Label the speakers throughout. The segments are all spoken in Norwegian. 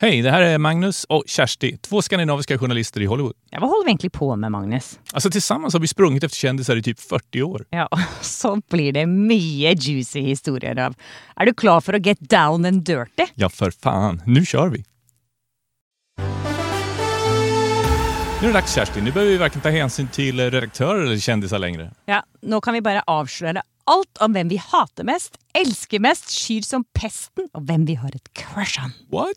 Speaker 1: Hej, det här är Magnus och Kersti, två skandinaviska journalister i Hollywood.
Speaker 2: Ja, vad håller vi egentligen på med Magnus?
Speaker 1: Alltså tillsammans har vi sprungit efter kändisar i typ 40 år.
Speaker 2: Ja, så blir det mye juicy historier av. Er du klar for å get down and dirty?
Speaker 1: Ja, för fan. Nu kör vi! Nu är det dags Kerstin, nu behöver vi varken ta hänsyn till eh, redaktörer eller kändisar längre.
Speaker 2: Ja, nå kan vi bare avsløre alt om hvem vi hater mest, elsker mest, skyr som pesten, og hvem vi har et crush on.
Speaker 1: What?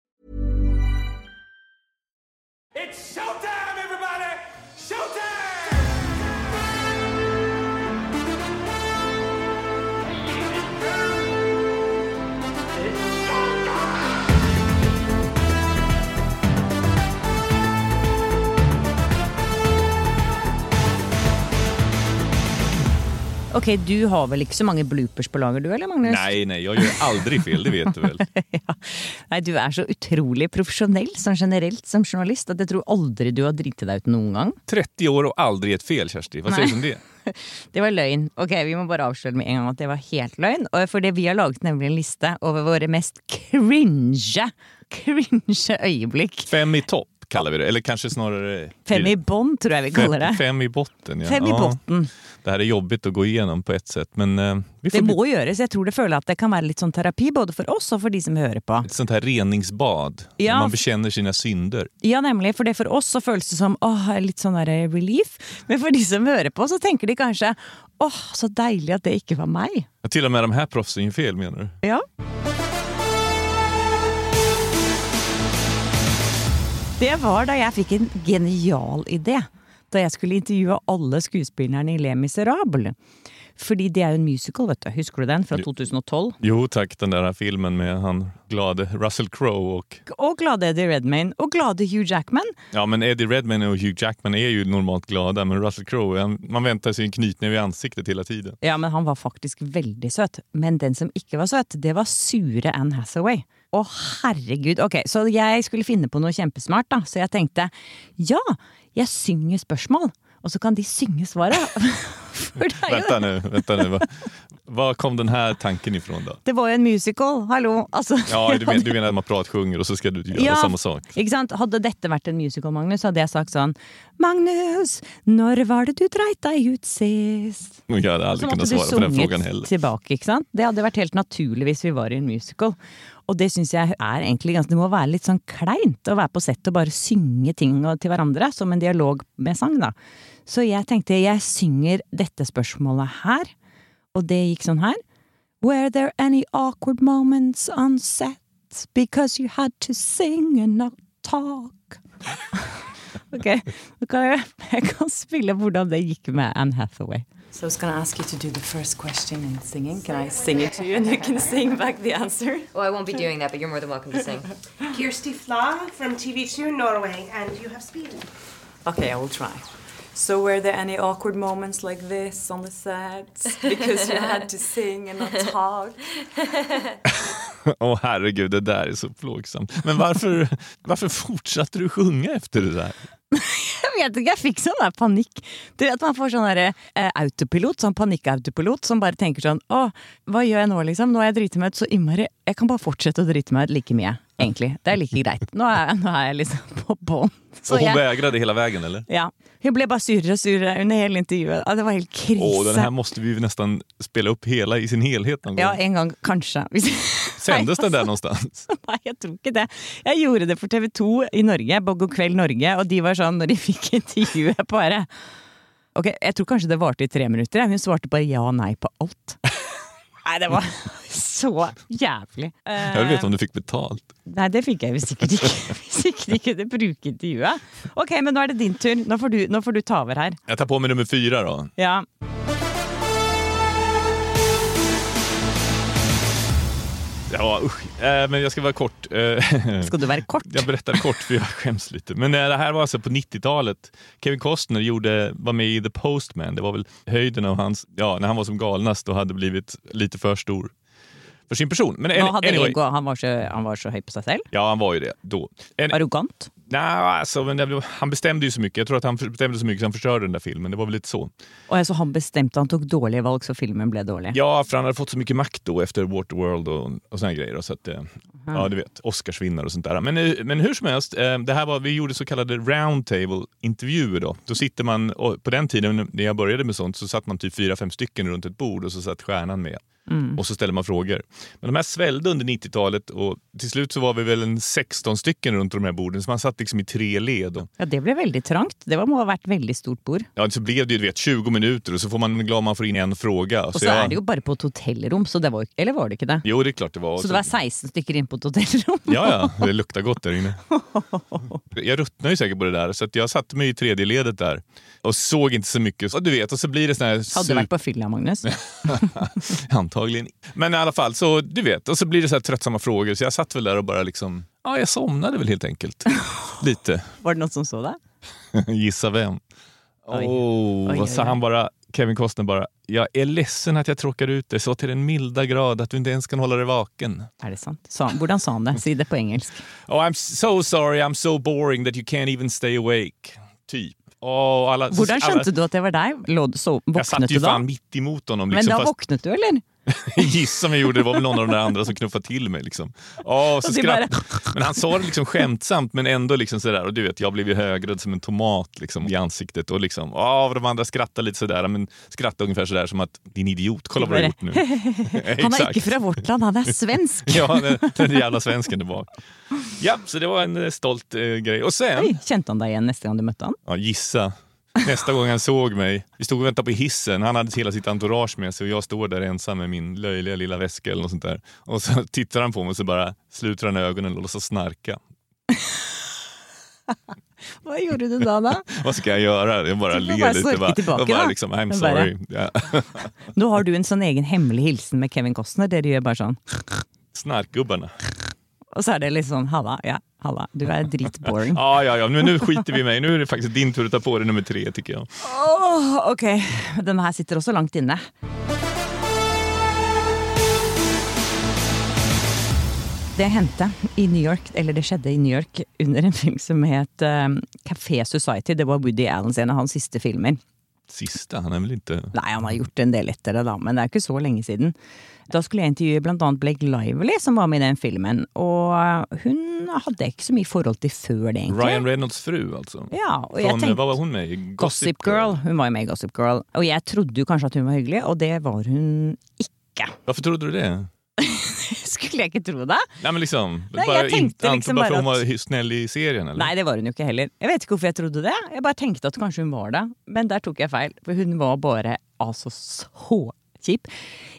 Speaker 3: It's showtime, everybody! Showtime!
Speaker 2: Ok, du har vel ikke så mange bloopers på lager du, eller Magnus?
Speaker 1: Nej, nej, jag gör aldrig fel, det vet du väl?
Speaker 2: ja. Nei, du er så utrolig profesjonell sånn generelt som journalist at jeg tror aldri du har driti deg ut noen gang.
Speaker 1: 30 år och aldrig ett fel Kersti, vad säger du om det?
Speaker 2: Det var løgn. Ok, Vi må bare avsløre med en gang at det var helt løgn. Og For det vi har laget nemlig en liste over våre mest cringe Cringe øyeblikk.
Speaker 1: Fem i topp kallar vi det, eller kanske snarare...
Speaker 2: Fem i bånd, tror jeg vi
Speaker 1: Fem-
Speaker 2: kaller det.
Speaker 1: Fem i botten, ja.
Speaker 2: Fem i
Speaker 1: Ja.
Speaker 2: botten.
Speaker 1: Det här är jobbigt att gå igenom på ett sätt, men eh, vi får
Speaker 2: Det
Speaker 1: bli
Speaker 2: må gjøres. Jeg tror det føler at det kan være litt sånn terapi både for oss og for de som hører på.
Speaker 1: ett sånt här reningsbad.
Speaker 2: Ja.
Speaker 1: Man bekänner sina synder.
Speaker 2: Ja, nemlig. For det for oss så føles det som åh, litt sånn der relief. Men for de som hører på, så tenker de kanskje åh, så deilig at det ikke var meg.
Speaker 1: Ja, Till och med de här proffsen gör fel menar du?
Speaker 2: Ja. Det var da jeg fikk en genial idé. Da jeg skulle intervjue alle skuespillerne i Le Miserable. Fordi det er jo en musical, vet du. Husker du den fra 2012?
Speaker 1: Jo tack, den där filmen med han glade Russell Crowe och...
Speaker 2: Og glade Eddie Redmayne. Og glade Hugh Jackman.
Speaker 1: Ja men Eddie Redmayne och Hugh Jackman är ju normalt glada, men Russell Crowe, han, man väntar sig en knytnäve i ansiktet hela tiden.
Speaker 2: Ja, men han var faktisk veldig søt. Men den som ikke var søt, det var sure Anne Hathaway. Å, herregud. Ok, så jeg skulle finne på noe kjempesmart, da. Så jeg tenkte ja, jeg synger spørsmål, og så kan de synge svaret. For det er jo
Speaker 1: Vänta nu, vänta nu. Var, var kom den här tanken ifrån då?
Speaker 2: Det var jo en musical, hallo. Altså,
Speaker 1: Ja, du, men, du menar att man pratsjunger og och så ska du göra samma sak?
Speaker 2: Ikke sant? Hadde dette vært en musical, Magnus, hadde jeg sagt sånn Magnus, når var det du dreit deg ut sist?
Speaker 1: Jag hade
Speaker 2: Så
Speaker 1: aldrig
Speaker 2: måtte
Speaker 1: kunnat
Speaker 2: du
Speaker 1: svara på den frågan heller.
Speaker 2: sunget tilbake, ikke sant? Det hadde vært helt naturlig hvis vi var i en musical. Og det syns jeg er egentlig ganske Det må være litt sånn kleint å være på sett og bare synge ting og- til hverandre, som en dialog med sang, da. Så jeg tenkte jeg synger dette spørsmålet her, og det gikk sånn her. Were there any awkward moments on set because you had to sing and not talk? ok, nå kan jeg, jeg kan spille hvordan det gikk med Anne Hathaway.
Speaker 4: So I was going to ask you to do the first question in singing. Can I sing it to you and you can sing back the answer?
Speaker 5: Well, I won't be doing that, but you're more than welcome to sing.
Speaker 6: Kirsty Fla from TV2 Norway, and you have Sweden.
Speaker 4: Okay, I will try. So were there any awkward moments like this on the sets because you had to sing and not talk?
Speaker 1: Åh herregud, det där är så plågsamt. Men varför, varför fortsatte du sjunga efter det där?
Speaker 2: Jeg vet ikke, jeg fikk sånn der panikk. Du vet, Man får sånn der, eh, autopilot, sånn panikkautopilot som bare tenker sånn Å, hva gjør jeg nå, liksom? Nå har jeg driti meg ut så innmari. Jeg kan bare fortsette å drite meg ut like mye, egentlig. Det er like greit. Nå er, nå er jeg liksom på bånn. Så
Speaker 1: Och hon
Speaker 2: jeg-
Speaker 1: vägrade hela vägen eller?
Speaker 2: Ja. Hun ble bare surere og surere under hele intervjuet. Ja, Det var helt krise.
Speaker 1: Åh, den här måste vi ju nästan spela upp hela i sin helhet någon gång.
Speaker 2: Ja, en gang kanskje. Hvis-
Speaker 1: Sändes den där någonstans?
Speaker 2: Nei, jeg tror ikke det. Jeg gjorde det for TV 2 i Norge, på God kveld Norge, og de var sånn når de fikk intervjuet, bare Ok, jeg tror kanskje det varte i tre minutter. jeg. Hun svarte bare ja og nei på alt. Nei, det var så jævlig. Eh,
Speaker 1: Jag vill veta om du fick betalt.
Speaker 2: Nei, det fikk jeg jo sikkert ikke. Hvis ikke de kunne bruke intervjuet. Ok, men nå er det din tur. Nå får du, nå får du ta over her.
Speaker 1: Jag tar på mig nummer fyra då.
Speaker 2: Ja.
Speaker 1: Ja, usch. Eh, Men jag ska vara kort. Eh,
Speaker 2: Skal du være kort?
Speaker 1: Jag berättar kort för jag skäms lite. Men eh, det här var alltså på 90-talet. Kevin Costner gjorde, var med i The Postman. Det var väl höjden av hans, ja, när han var som galnast och hade blivit lite för stor för sin person. Men
Speaker 2: Hva
Speaker 1: an-
Speaker 2: hadde
Speaker 1: anyway,
Speaker 2: ego? Han var, så, han var så høy på seg selv?
Speaker 1: Ja, han var ju det då. En,
Speaker 2: Arrogant?
Speaker 1: nej, alltså, men det, han bestämde ju så mycket. Jag tror att han bestämde så mycket så han förstörde den där filmen. Det var väl lite så.
Speaker 2: Og jeg så han bestemte han tok dårlige valg, så filmen ble dårlig.
Speaker 1: Ja, för han hade fått så mycket makt då efter Waterworld och, och såna här grejer. Och Så att, eh, Ja, du vet, Oscarsvinnare och sånt där. Men, eh, men hur som helst, eh, det här var, vi gjorde så kallade roundtable-intervjuer. Då. då sitter man, och på den tiden när jag började med sånt så satt man typ fyra, fem stycken runt ett bord och så satt stjärnan med.
Speaker 2: Mm.
Speaker 1: Och så ställer man frågor. Men de här svällde under 90-talet och till slut så var vi väl en 16 stycken runt de här borden. Så man satt liksom i tre led. Och,
Speaker 2: Ja, Det ble veldig trangt. Det var- må ha vært veldig stort bord.
Speaker 1: ja, så blev det ju du vet, 20 minuter och så får man vara glad om man får in en fråga.
Speaker 2: Og så er det jo bare på et hotellrom, så det var, jo- eller var det ikke det?
Speaker 1: Jo, det är klart det var.
Speaker 2: Så det var 16 stykker inne på et hotellrom?
Speaker 1: altså- Ja, ja. Det luktar gott där inne. Jag ruttnar ju säkert på det där, så att jag satte mig i tredje ledet där och såg inte så mycket. Och du vet, och så blir det sån här...
Speaker 2: Hadde du
Speaker 1: super-
Speaker 2: vært på fylla, Magnus?
Speaker 1: Antagligen. Men i alla fall, så du vet. Och så blir det så här tröttsamma frågor, så jag satt väl där och bara liksom... Ja, jeg somnade väl helt enkelt. Lite.
Speaker 2: Var det noen som så deg?
Speaker 1: Gissa vem?
Speaker 2: Oj.
Speaker 1: Åh,
Speaker 2: Oj,
Speaker 1: och
Speaker 2: oj,
Speaker 1: så
Speaker 2: oj.
Speaker 1: han bara, Kevin Costner bara, jag är ledsen att jag tråkar ut dig så till den milda grad att du inte ens kan hålla dig vaken.
Speaker 2: Er det sant? Sa han, hvordan sa han det? Si det på engelsk.
Speaker 1: Oh, I'm so sorry, I'm so boring that you can't even stay awake. Typ. Åh, alla,
Speaker 2: Hvordan
Speaker 1: alla-
Speaker 2: skjønte du at det var deg? Lå, du- så,
Speaker 1: Jag altså- satt
Speaker 2: våknet
Speaker 1: ju
Speaker 2: du da?
Speaker 1: fan mitt emot honom.
Speaker 2: Men
Speaker 1: Liksom,
Speaker 2: da
Speaker 1: fast
Speaker 2: våknet du, eller?
Speaker 1: gissa om jag gjorde det var väl någon av de där andra som knuffade till mig. Liksom. Åh, så
Speaker 2: Och det
Speaker 1: skratt. Men han sa det liksom skämtsamt men ändå liksom sådär. Och du vet, jag blev ju högröd som en tomat liksom, i ansiktet. Och liksom, åh, och de andra skrattade lite sådär. Men skrattade ungefär sådär som att din idiot, kolla vad du har gjort nu.
Speaker 2: Han er
Speaker 1: Exakt.
Speaker 2: ikke fra vårt land, han er svensk!
Speaker 1: Ja, den, den jävla svensken där bak. Ja, så det var en eh, stolt eh, grej. Och sen...
Speaker 2: Oi, kjente han deg igjen neste gang du møtte han?
Speaker 1: Ja, gissa. Nästa gång han såg mig, vi stod och väntade på hissen, han hade hela sitt entourage med sig och jag står där ensam med min löjliga lilla väska eller något sånt där. Och så tittar han på mig och så bara sluter han ögonen och låtsas snarka.
Speaker 2: Hva gjorde du da, da?
Speaker 1: Vad ska jag göra? Jag bara
Speaker 2: Du får
Speaker 1: ler
Speaker 2: bara
Speaker 1: lite.
Speaker 2: snorka
Speaker 1: Bara,
Speaker 2: tillbaka,
Speaker 1: och bara
Speaker 2: va?
Speaker 1: liksom, I'm
Speaker 2: Men bara-
Speaker 1: sorry. Ja.
Speaker 2: Nå har du en sånn egen hemmelig hilsen med Kevin Costner. Dere gjør bare sånn.
Speaker 1: Snarkgubbarna.
Speaker 2: Og så er det litt sånn halla, ja, halla. Du er dritboring.
Speaker 1: Ja, ja, ja, men nu skiter vi i mig. Nu är det faktiskt din tur att ta på dig nummer tre tycker jag.
Speaker 2: Åh, ok, denne her sitter også langt inne. Det hendte i New York, eller det skjedde i New York under en film som het eh, Café Society. Det var Woody Allens en av hans siste filmer.
Speaker 1: Sista, han är väl inte...
Speaker 2: Nei, han har gjort en del etter det, da, men det er ikke så lenge siden. Da skulle jeg intervjue blant annet Blake Lively, som var med i den filmen. Og hun hadde jeg ikke så mye forhold til før det, egentlig.
Speaker 1: Ryan Reynolds fru alltså.
Speaker 2: Ja, og jeg
Speaker 1: Från,
Speaker 2: tenkte
Speaker 1: vad var hon med i?
Speaker 2: Gossip Girl. Hun var jo med i Gossip Girl. Og jeg trodde jo kanskje at hun var hyggelig, og det var hun ikke.
Speaker 1: Varför trodde du det?
Speaker 2: Skulle jeg ikke tro det?
Speaker 1: Nej men liksom,
Speaker 2: Nej,
Speaker 1: bara,
Speaker 2: jag tänkte
Speaker 1: inte,
Speaker 2: liksom
Speaker 1: bara för
Speaker 2: bara
Speaker 1: hon var
Speaker 2: att-
Speaker 1: hy- snäll i serien eller?
Speaker 2: Nei, det var hun jo ikke heller. Jeg vet ikke hvorfor jeg trodde det. Jeg bare tenkte at kanskje hun var det. Men der tok jeg feil, for hun var bare altså så kjip.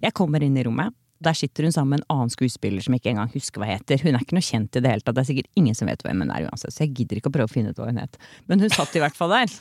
Speaker 2: Jeg kommer inn i rommet. Der sitter hun sammen med en annen skuespiller som jeg ikke engang husker hva heter. Hun er ikke noe kjent i det hele tatt. Det er sikkert ingen som vet hvem hun er uansett, så jeg gidder ikke å prøve å finne ut hva hun het. Men hun satt i hvert fall der.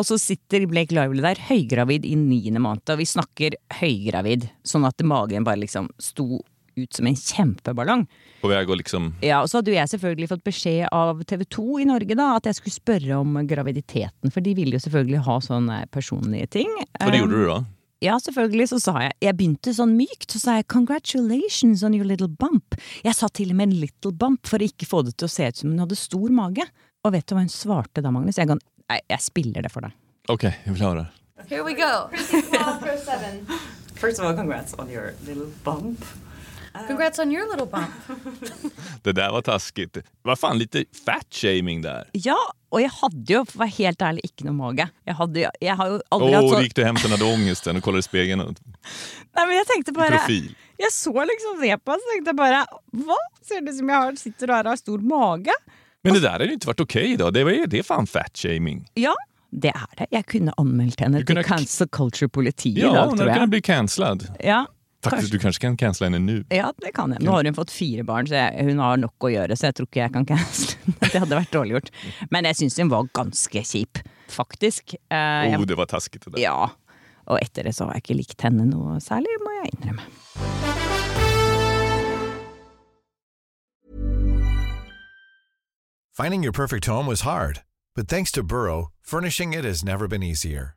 Speaker 2: Og så sitter Blake Lively der, høygravid i niende måned, og vi snakker høygravid, sånn at magen bare liksom sto ut som en kjempeballong.
Speaker 1: På väg att liksom
Speaker 2: Ja, og så hadde jo jeg selvfølgelig fått beskjed av TV 2 i Norge da, at jeg skulle spørre om graviditeten, for de ville jo selvfølgelig ha sånne personlige ting. Eh,
Speaker 1: Och det gjorde du
Speaker 2: Ehm.
Speaker 1: då?
Speaker 2: Ja, selvfølgelig, så sa jeg. Jeg begynte sånn mykt, så sa jeg 'congratulations on your little bump'. Jeg sa til og med 'little bump' for å ikke få det til å se ut som hun hadde stor mage. Og vet du hva hun svarte da, Magnus? Jeg, kan, Nei, jeg spiller det for deg.
Speaker 1: Okej, jag vill höra.
Speaker 5: Here we go.
Speaker 4: First of all, congrats on your little bump.
Speaker 5: Congrats on your little bump.
Speaker 1: Det där var taskigt. Vad fan, lite fat-shaming där.
Speaker 2: Ja, og jeg hadde jo, for å være helt ærlig, ikke noe mage. Jeg, hadde, jo- jeg har jo aldri
Speaker 1: Åh,
Speaker 2: hatt
Speaker 1: oh,
Speaker 2: sånn
Speaker 1: gick du hem sen hade ångesten och kollade i spegeln? Och...
Speaker 2: Nei, men jeg tenkte bare
Speaker 1: Profil.
Speaker 2: Jeg så liksom det på han, så tenkte jeg bare Hva? Ser det ut som jeg har, sitter og har- har stor mage?
Speaker 1: Men det där hade ju inte varit okej idag. Det, var ju- det är fan fat-shaming.
Speaker 2: Ja, det er det. Jeg kunne anmeldt henne
Speaker 1: kunne
Speaker 2: til
Speaker 1: ha k-
Speaker 2: cancel culture-politiet i
Speaker 1: Ja,
Speaker 2: dag,
Speaker 1: hon
Speaker 2: tror
Speaker 1: hade kunnat
Speaker 2: jeg.
Speaker 1: bli cancellad.
Speaker 2: Ja,
Speaker 1: Faktiskt, du kanske kan cancella henne nu.
Speaker 2: ja, det kan jeg. Nå har hun fått fire barn, så jeg, hun har nok å gjøre, så jeg tror ikke jeg kan cancele henne. Det hadde vært dårlig gjort. Men jeg syns hun var ganske kjip, faktisk. Eh,
Speaker 1: Åh,
Speaker 2: jeg,
Speaker 1: oh, det var taskigt det där.
Speaker 2: ja. Og etter det så har jeg ikke likt henne noe særlig, må jeg innrømme.
Speaker 7: Finding your perfect home was hard, but thanks to Burrow, furnishing it has never been easier.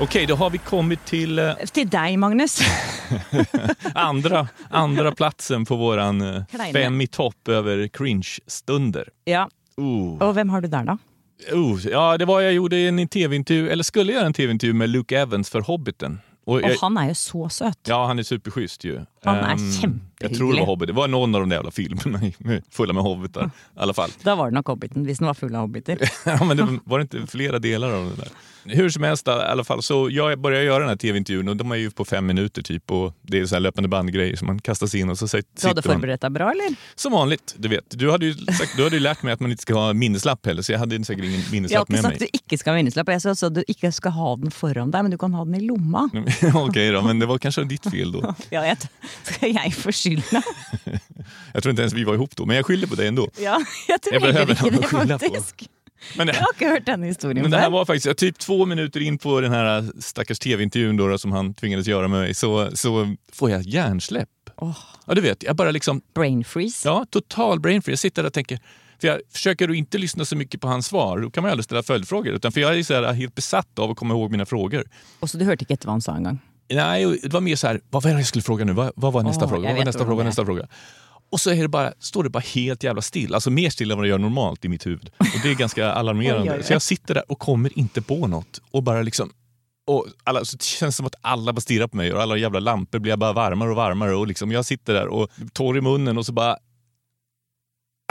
Speaker 1: Okej, då har vi kommit till eh,
Speaker 2: Til deg, Magnus.
Speaker 1: andra, andra platsen på våran eh,
Speaker 2: Kleine.
Speaker 1: fem i topp över cringe-stunder.
Speaker 2: Ja.
Speaker 1: Oh.
Speaker 2: Og hvem har du der, da?
Speaker 1: Oh, ja, det var jag gjorde i en tv-intervju, eller skulle göra en tv-intervju med Luke Evans för Hobbiten. Och jag,
Speaker 2: Og han er jo så søt.
Speaker 1: Ja, han är superschysst ju.
Speaker 2: Han
Speaker 1: Ehm,
Speaker 2: är
Speaker 1: Jag tror det
Speaker 2: kämpehygglig.
Speaker 1: var Hobbit. Det var någon av de där jävla filmerna med- fulla med hobbitar i alla fall.
Speaker 2: Da var det nok Hobbiten, hvis den var full av hobbiter.
Speaker 1: Ja, men det var det inte flera delar av det där? Hur som helst, i alla fall, så jag började göra den här tv-intervjun och de är ju på fem minuter typ och det är så här löpande bandgrejer som man kastas in och så sit-
Speaker 2: Du hadde
Speaker 1: sitter man.
Speaker 2: forberedt deg bra, eller?
Speaker 1: Som vanligt, du vet. Du hade ju, sagt, du hade ju lärt mig att man inte ska ha minneslapp heller så jag hade säkert ingen
Speaker 2: Jeg har
Speaker 1: minneslapp
Speaker 2: ikke
Speaker 1: med
Speaker 2: sagt
Speaker 1: mig.
Speaker 2: du ikke skal ha vinnerslapp. Jeg sa også at du ikke skal ha den foran deg, men du kan ha den i lomma.
Speaker 1: Okej då, men det var kanske ditt fel då.
Speaker 2: Ja, jeg t- Skal jeg få skylden?
Speaker 1: Jag tror inte ens vi var ihop då, men jag skyller på dig ändå.
Speaker 2: Ja, jeg tror
Speaker 1: Jeg behøver
Speaker 2: heller ikke
Speaker 1: noe
Speaker 2: det,
Speaker 1: å skylde på.
Speaker 2: faktisk.
Speaker 1: Men det,
Speaker 2: Jeg har ikke hørt denne historien
Speaker 1: Men det här
Speaker 2: før.
Speaker 1: var faktiskt, ja, typ två minuter in på den här stackars tv-intervjun då, då, som han tvingades göra med mig så, så får jag hjärnsläpp. Ja, du vet, jag bara liksom,
Speaker 2: Brain freeze.
Speaker 1: ja, total brain freeze. Jag sitter där och tänker, för jag försöker att inte lyssna så mycket på hans svar, då kan man ju aldrig ställa följdfrågor. Utan för jag är så här, helt besatt av att komma ihåg mina frågor.
Speaker 2: Og så du hørte ikke etter hva han sa engang.
Speaker 1: Nej, och det var mer så här, vad var det jag skulle fråga nu? Vad, vad var nästa
Speaker 2: Åh,
Speaker 1: fråga?
Speaker 2: jag
Speaker 1: Vad var
Speaker 2: vet
Speaker 1: nästa
Speaker 2: vad
Speaker 1: fråga?
Speaker 2: det är.
Speaker 1: Nästa fråga? Och så är det bara, står det bara helt jävla still. Alltså mer still än vad det gör normalt i mitt huvud. Och det är ganska alarmerande.
Speaker 2: Oj, oj, oj.
Speaker 1: Så jag sitter där och kommer inte på något. Och bara liksom... Och alla, så det känns som att alla bara stirrar på mig och alla jävla lampor blir bara varmare och varmare. Och liksom jag sitter där och torr i munnen och så bara...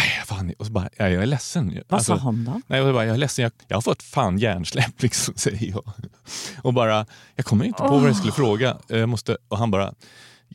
Speaker 1: "Aj, Fan, och så bara, ja, jeg er ledsen.
Speaker 2: Hva
Speaker 1: Altså-
Speaker 2: sa han da?
Speaker 1: Nej, jag, bara, jag är ledsen, jag, jag har fått fan hjärnsläpp, liksom, säger jag. Och bara, jag kommer inte på vad jag skulle fråga. Eh, Jag måste, och han bara,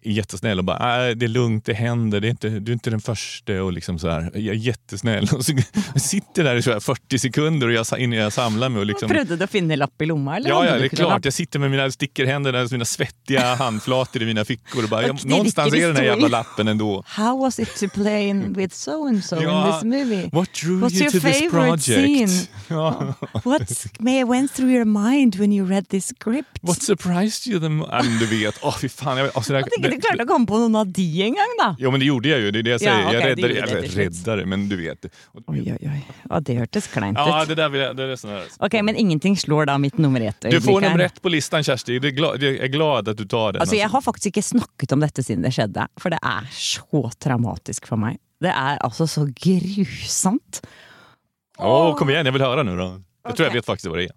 Speaker 1: är jättesnäll och bara, nej det är lugnt, det händer, det är inte, du är inte den första och liksom så här, jag är jättesnäll. Och så jag sitter där i så här 40 sekunder och jag, sa- innan jag samlar mig och liksom...
Speaker 2: Prøvde du å finne lapp i lomma, eller?
Speaker 1: Ja,
Speaker 2: hadde
Speaker 1: ja,
Speaker 2: du
Speaker 1: det är
Speaker 2: ikke
Speaker 1: klart.
Speaker 2: lapp?
Speaker 1: Jag sitter med mina stickerhänder, där, mina svettiga handflator i mina fickor och bara,
Speaker 2: Och
Speaker 1: jag,
Speaker 2: knirker
Speaker 1: någonstans
Speaker 2: i
Speaker 1: är den här jävla
Speaker 2: stolen.
Speaker 1: lappen ändå.
Speaker 2: How was it to play in with so and so in
Speaker 1: Ja,
Speaker 2: this movie?
Speaker 1: What drew
Speaker 2: Oh, What's
Speaker 1: you
Speaker 2: your
Speaker 1: to this
Speaker 2: favorite
Speaker 1: project?
Speaker 2: scene? Oh.
Speaker 1: Ja.
Speaker 2: What may went through your mind when you read this script?
Speaker 1: What surprised you the m- Ja, men Du vet, åh fy fan. Jag, alltså, det här,
Speaker 2: At ikke du klarte å komme på noen av de engang, da!
Speaker 1: Jo men det gjorde jag ju, det är det jag säger.
Speaker 2: okej,
Speaker 1: jag
Speaker 2: du
Speaker 1: räddade,
Speaker 2: gjorde det
Speaker 1: eller
Speaker 2: till slut.
Speaker 1: räddade, men du vet. Och-
Speaker 2: Oi, oi, oi. Ja, det hørtes kleint
Speaker 1: Ja,
Speaker 2: ut.
Speaker 1: det där vill jeg, det är sån här.
Speaker 2: Ok, Men ingenting slår da mitt nummer ett.
Speaker 1: Du får
Speaker 2: øyeblikk her.
Speaker 1: nummer ett på listan Kersti, det är glad, jag är glad att du tar den.
Speaker 2: Altså, jeg har faktisk ikke snakket om dette siden det skjedde, for det er så traumatisk for meg. Det er altså så grusomt.
Speaker 1: Åh, kom igen, jag vill höra nu då. Jag tror jag vet faktiskt vad det är.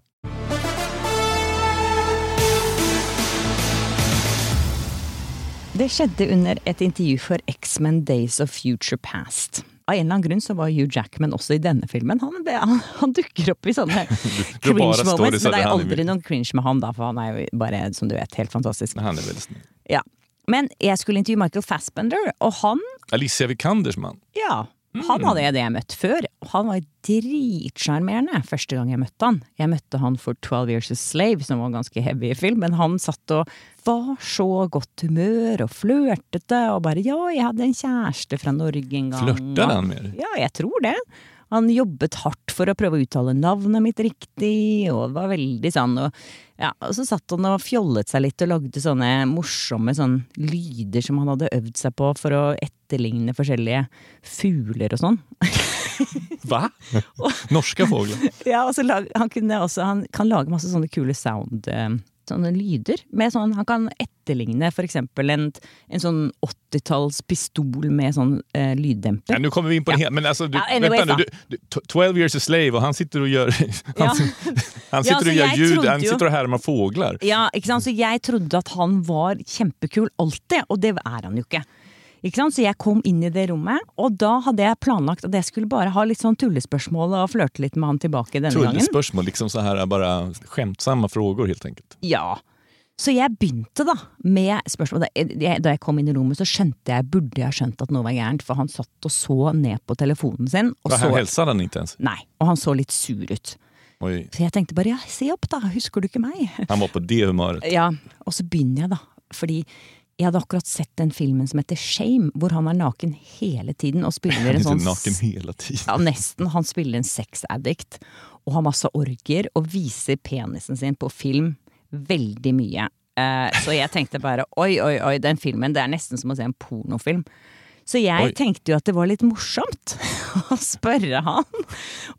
Speaker 2: Det skjedde under et intervju for X-Men Days of Future Past. Av en eller annen grunn så var Hugh Jackman også i denne filmen. Han, ble, han, han dukker opp i sånne
Speaker 1: du bare
Speaker 2: cringe
Speaker 1: står i
Speaker 2: moments, men det er
Speaker 1: sånne
Speaker 2: aldri noen cringe med han da, for han er jo bare, som du vet, helt fantastisk.
Speaker 1: Han är väldigt snygg.
Speaker 2: Ja. Men jeg skulle intervjue Michael Fassbender, og han
Speaker 1: Alicia Vikanders man.
Speaker 2: Ja. Han hadde jeg det jeg møtt før, og han var dritsjarmerende første gang jeg møtte han. Jeg møtte han for 12 Years a Slave, som var en ganske heavy film, men han satt og var så godt humør og flørtete og bare 'ja, jeg hadde en kjæreste fra Norge en gang'.
Speaker 1: Flörtade han med dig?
Speaker 2: Ja, jeg tror det. Han jobbet hardt for å prøve å uttale navnet mitt riktig, og var veldig sånn og, ja, og så satt han og fjollet seg litt og lagde sånne morsomme sånn, lyder som han hadde øvd seg på for å etterligne forskjellige fugler og sånn.
Speaker 1: Va? Norska fåglar?
Speaker 2: Ja, og så lag, han, kunne også, han kan lage masse sånne kule sound eh, Sånne lyder. Med sånn, han kan et, etterligne f.eks. En, en sånn 80-talls pistol med sånn eh,
Speaker 1: Ja,
Speaker 2: lyddemper.
Speaker 1: nå kommer vi in på en hel... Men altså, du,
Speaker 2: Ja, anyways,
Speaker 1: vänta nu,
Speaker 2: da.
Speaker 1: du, du, 12 years a slave och han sitter och gör, han,
Speaker 2: Ja.
Speaker 1: han
Speaker 2: Ja,
Speaker 1: sitter
Speaker 2: så
Speaker 1: och gör
Speaker 2: jag
Speaker 1: ljud,
Speaker 2: trodde
Speaker 1: han
Speaker 2: ju-
Speaker 1: sitter och härmar fåglar.
Speaker 2: Ja, ikke sant? Så jeg trodde at han var kjempekul alltid, og det er han jo ikke. Ikke sant? Så jeg kom inn i det rommet, og da hadde jeg planlagt at jeg skulle bare ha litt sånn tullespørsmål og flørte litt med han tilbake denne gangen.
Speaker 1: Tullespörsmål, liksom så här bara skämtsamma frågor helt enkelt.
Speaker 2: Ja. Så jeg begynte da med spørsmål. Da jeg, da jeg kom inn i rommet, så skjønte jeg, burde jeg skjønt at noe var gærent, for han satt og så ned på telefonen sin. Og
Speaker 1: Vad,
Speaker 2: så,
Speaker 1: han hälsade han inte ens?
Speaker 2: nei, og han så litt sur ut.
Speaker 1: Oj,
Speaker 2: Så jeg tenkte bare ja, se opp da, husker du ikke meg?
Speaker 1: han var på det humöret.
Speaker 2: Ja, Og så begynner jeg, da. Fordi jeg hadde akkurat sett den filmen som heter Shame, hvor han er naken hele tiden og
Speaker 1: Han
Speaker 2: spiller
Speaker 1: är
Speaker 2: en sånn
Speaker 1: inte naken hela tiden.
Speaker 2: ja, nesten. Han spiller en sexaddict og har masse orger og viser penisen sin på film veldig mye. Eh, Så jeg tenkte bare oi, oi, oi, den filmen, det er nesten som å se en pornofilm. Så jeg
Speaker 1: Oi.
Speaker 2: tenkte jo at det var litt morsomt å spørre han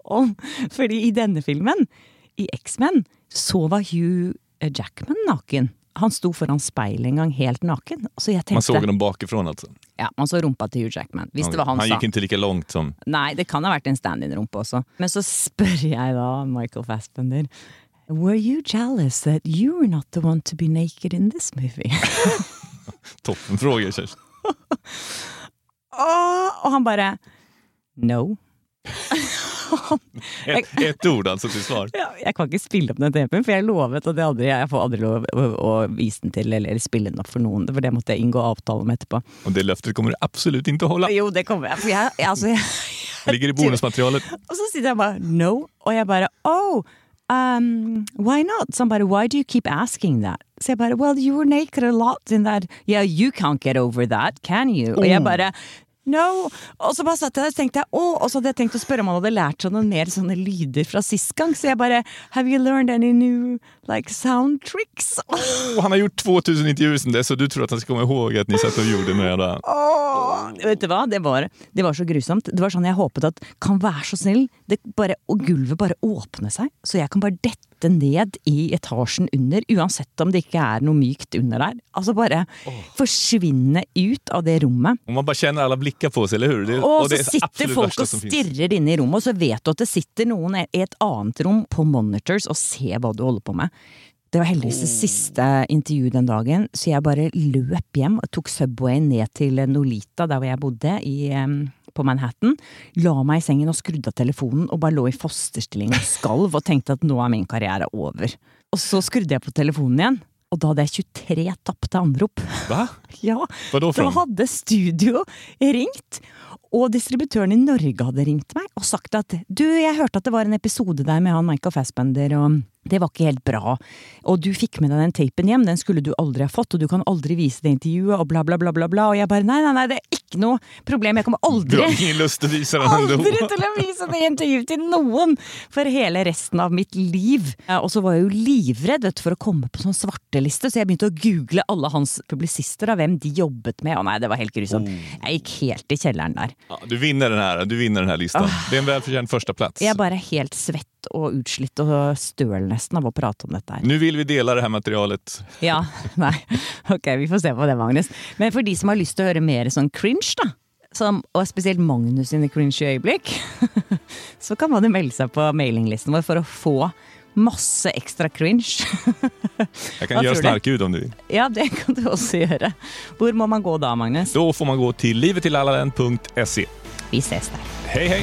Speaker 2: om Fordi i denne filmen, i X-Men, så var Hugh eh, Jackman naken. Han sto foran speilet en gang helt naken. Så jeg
Speaker 1: Man
Speaker 2: tenkte,
Speaker 1: såg honom bakifrån alltså.
Speaker 2: ja, man så rumpa til Hugh Jackman. Hvis det var
Speaker 1: han
Speaker 2: han,
Speaker 1: gick inte lika långt som...
Speaker 2: Nei, det kan ha vært en stand-in-rumpe også. Men så spør jeg da Michael Fassbender Were you jealous that you were not the one to be naked in this movie?
Speaker 1: Toppenfrågor Kerstin.
Speaker 2: Åh, og han bare No.
Speaker 1: Ett, ett ord alltså till svar.
Speaker 2: Ja, Jeg kan ikke spille opp den tapen, for jeg lovet at jeg, aldri, jeg får aldri lov å, å vise den til eller spille den opp for noen. For det måtte jeg inngå avtale om etterpå.
Speaker 1: Och det löftet kommer du absolut inte att hålla.
Speaker 2: Jo, det kommer jeg. For jeg, jeg, altså, jeg
Speaker 1: Ligger i bonusmaterialet.
Speaker 2: Og så sitter jeg bare no, og jeg bare oh, um, why not? Så han bare why do you keep asking that? Så jeg bare well, you were naked a lot in that Yeah, you can't get over that, can you? Og jeg bare No! Og så bare satt jeg der og tenkte jeg, «Åh», og så hadde jeg tenkt å spørre om han hadde lært seg noen mer sånne lyder fra sist gang, så jeg bare Have you learned any new like sound tricks?
Speaker 1: Och Oh, han har gjort 2000 intervjuer sedan dess så du tror att han ska komma ihåg att ni satt och gjorde några...
Speaker 2: Vet du hva? Det var, det var så grusomt. Det var sånn jeg håpet at Kan være så snill, det bare, og gulvet bare åpne seg, så jeg kan bare dette ned i etasjen under, uansett om det ikke er noe mykt under der. Altså bare forsvinne ut av det rommet.
Speaker 1: Och man bara känner alla blickar på sig, eller hur? Det,
Speaker 2: Og,
Speaker 1: det
Speaker 2: så
Speaker 1: det
Speaker 2: sitter
Speaker 1: absolut
Speaker 2: folk
Speaker 1: värsta
Speaker 2: og
Speaker 1: som finns.
Speaker 2: stirrer inne i rommet, og så vet du at det sitter noen i et annet rom på monitors og ser hva du holder på med. Det var heldigvis
Speaker 1: Oh.
Speaker 2: det siste intervjuet den dagen, så jeg bare løp hjem og tok Subway ned til Nolita, der hvor jeg bodde, i, em, på Manhattan. La meg i sengen og skrudde av telefonen og bare lå i fosterstilling og skalv og tenkte at nå er min karriere over. Og så skrudde jeg på telefonen igjen, og da hadde jeg 23 tapte anrop.
Speaker 1: Va?
Speaker 2: Ja,
Speaker 1: Hva da for noe?
Speaker 2: hadde studio ringt, og distributøren i Norge hadde ringt meg og sagt at du, jeg hørte at det var en episode der med han Michael Fassbender, og det var ikke helt bra. Og du fikk med deg den tapen hjem, den skulle du aldri ha fått, og du kan aldri vise det intervjuet, og bla, bla, bla, bla, bla. Og jeg bare nei, nei, nei, det er ikke noe problem, jeg kommer
Speaker 1: Du
Speaker 2: aldri
Speaker 1: har ingen lust att visa den ändå.
Speaker 2: Aldri til å vise det intervjuet til noen for hele resten av mitt liv. Eh, Og så var jeg jo livredd vet, du, for å komme på sånn svarteliste, så jeg begynte å google alle hans publisister og hvem de jobbet med. Å nei, det var helt grusomt. Jeg gikk helt i kjelleren der.
Speaker 1: Ja, du vinner den här, du vinner den här
Speaker 2: Ah.
Speaker 1: listan. Det är en välförtjänt första plats.
Speaker 2: Jeg er bare helt svett og utslitt og støl nesten av å prate om dette her.
Speaker 1: Nu vill vi dela det här materialet.
Speaker 2: Ja, nei. Ok, vi får se på det, Magnus. Men for de som har lyst til å høre mer sånn cringe, da. Som, og spesielt Magnus sine cringe øyeblikk. Så kan man jo melde seg på mailinglisten vår for å få masse ekstra cringe.
Speaker 1: Jag kan
Speaker 2: Vad
Speaker 1: göra
Speaker 2: tror du?
Speaker 1: snarkljud om du vill.
Speaker 2: Ja, det kan du også gjøre. Hvor må man gå da, Magnus?
Speaker 1: Då får man gå till livetillallaren.se.
Speaker 2: Vi ses der.
Speaker 1: E. Hej hej!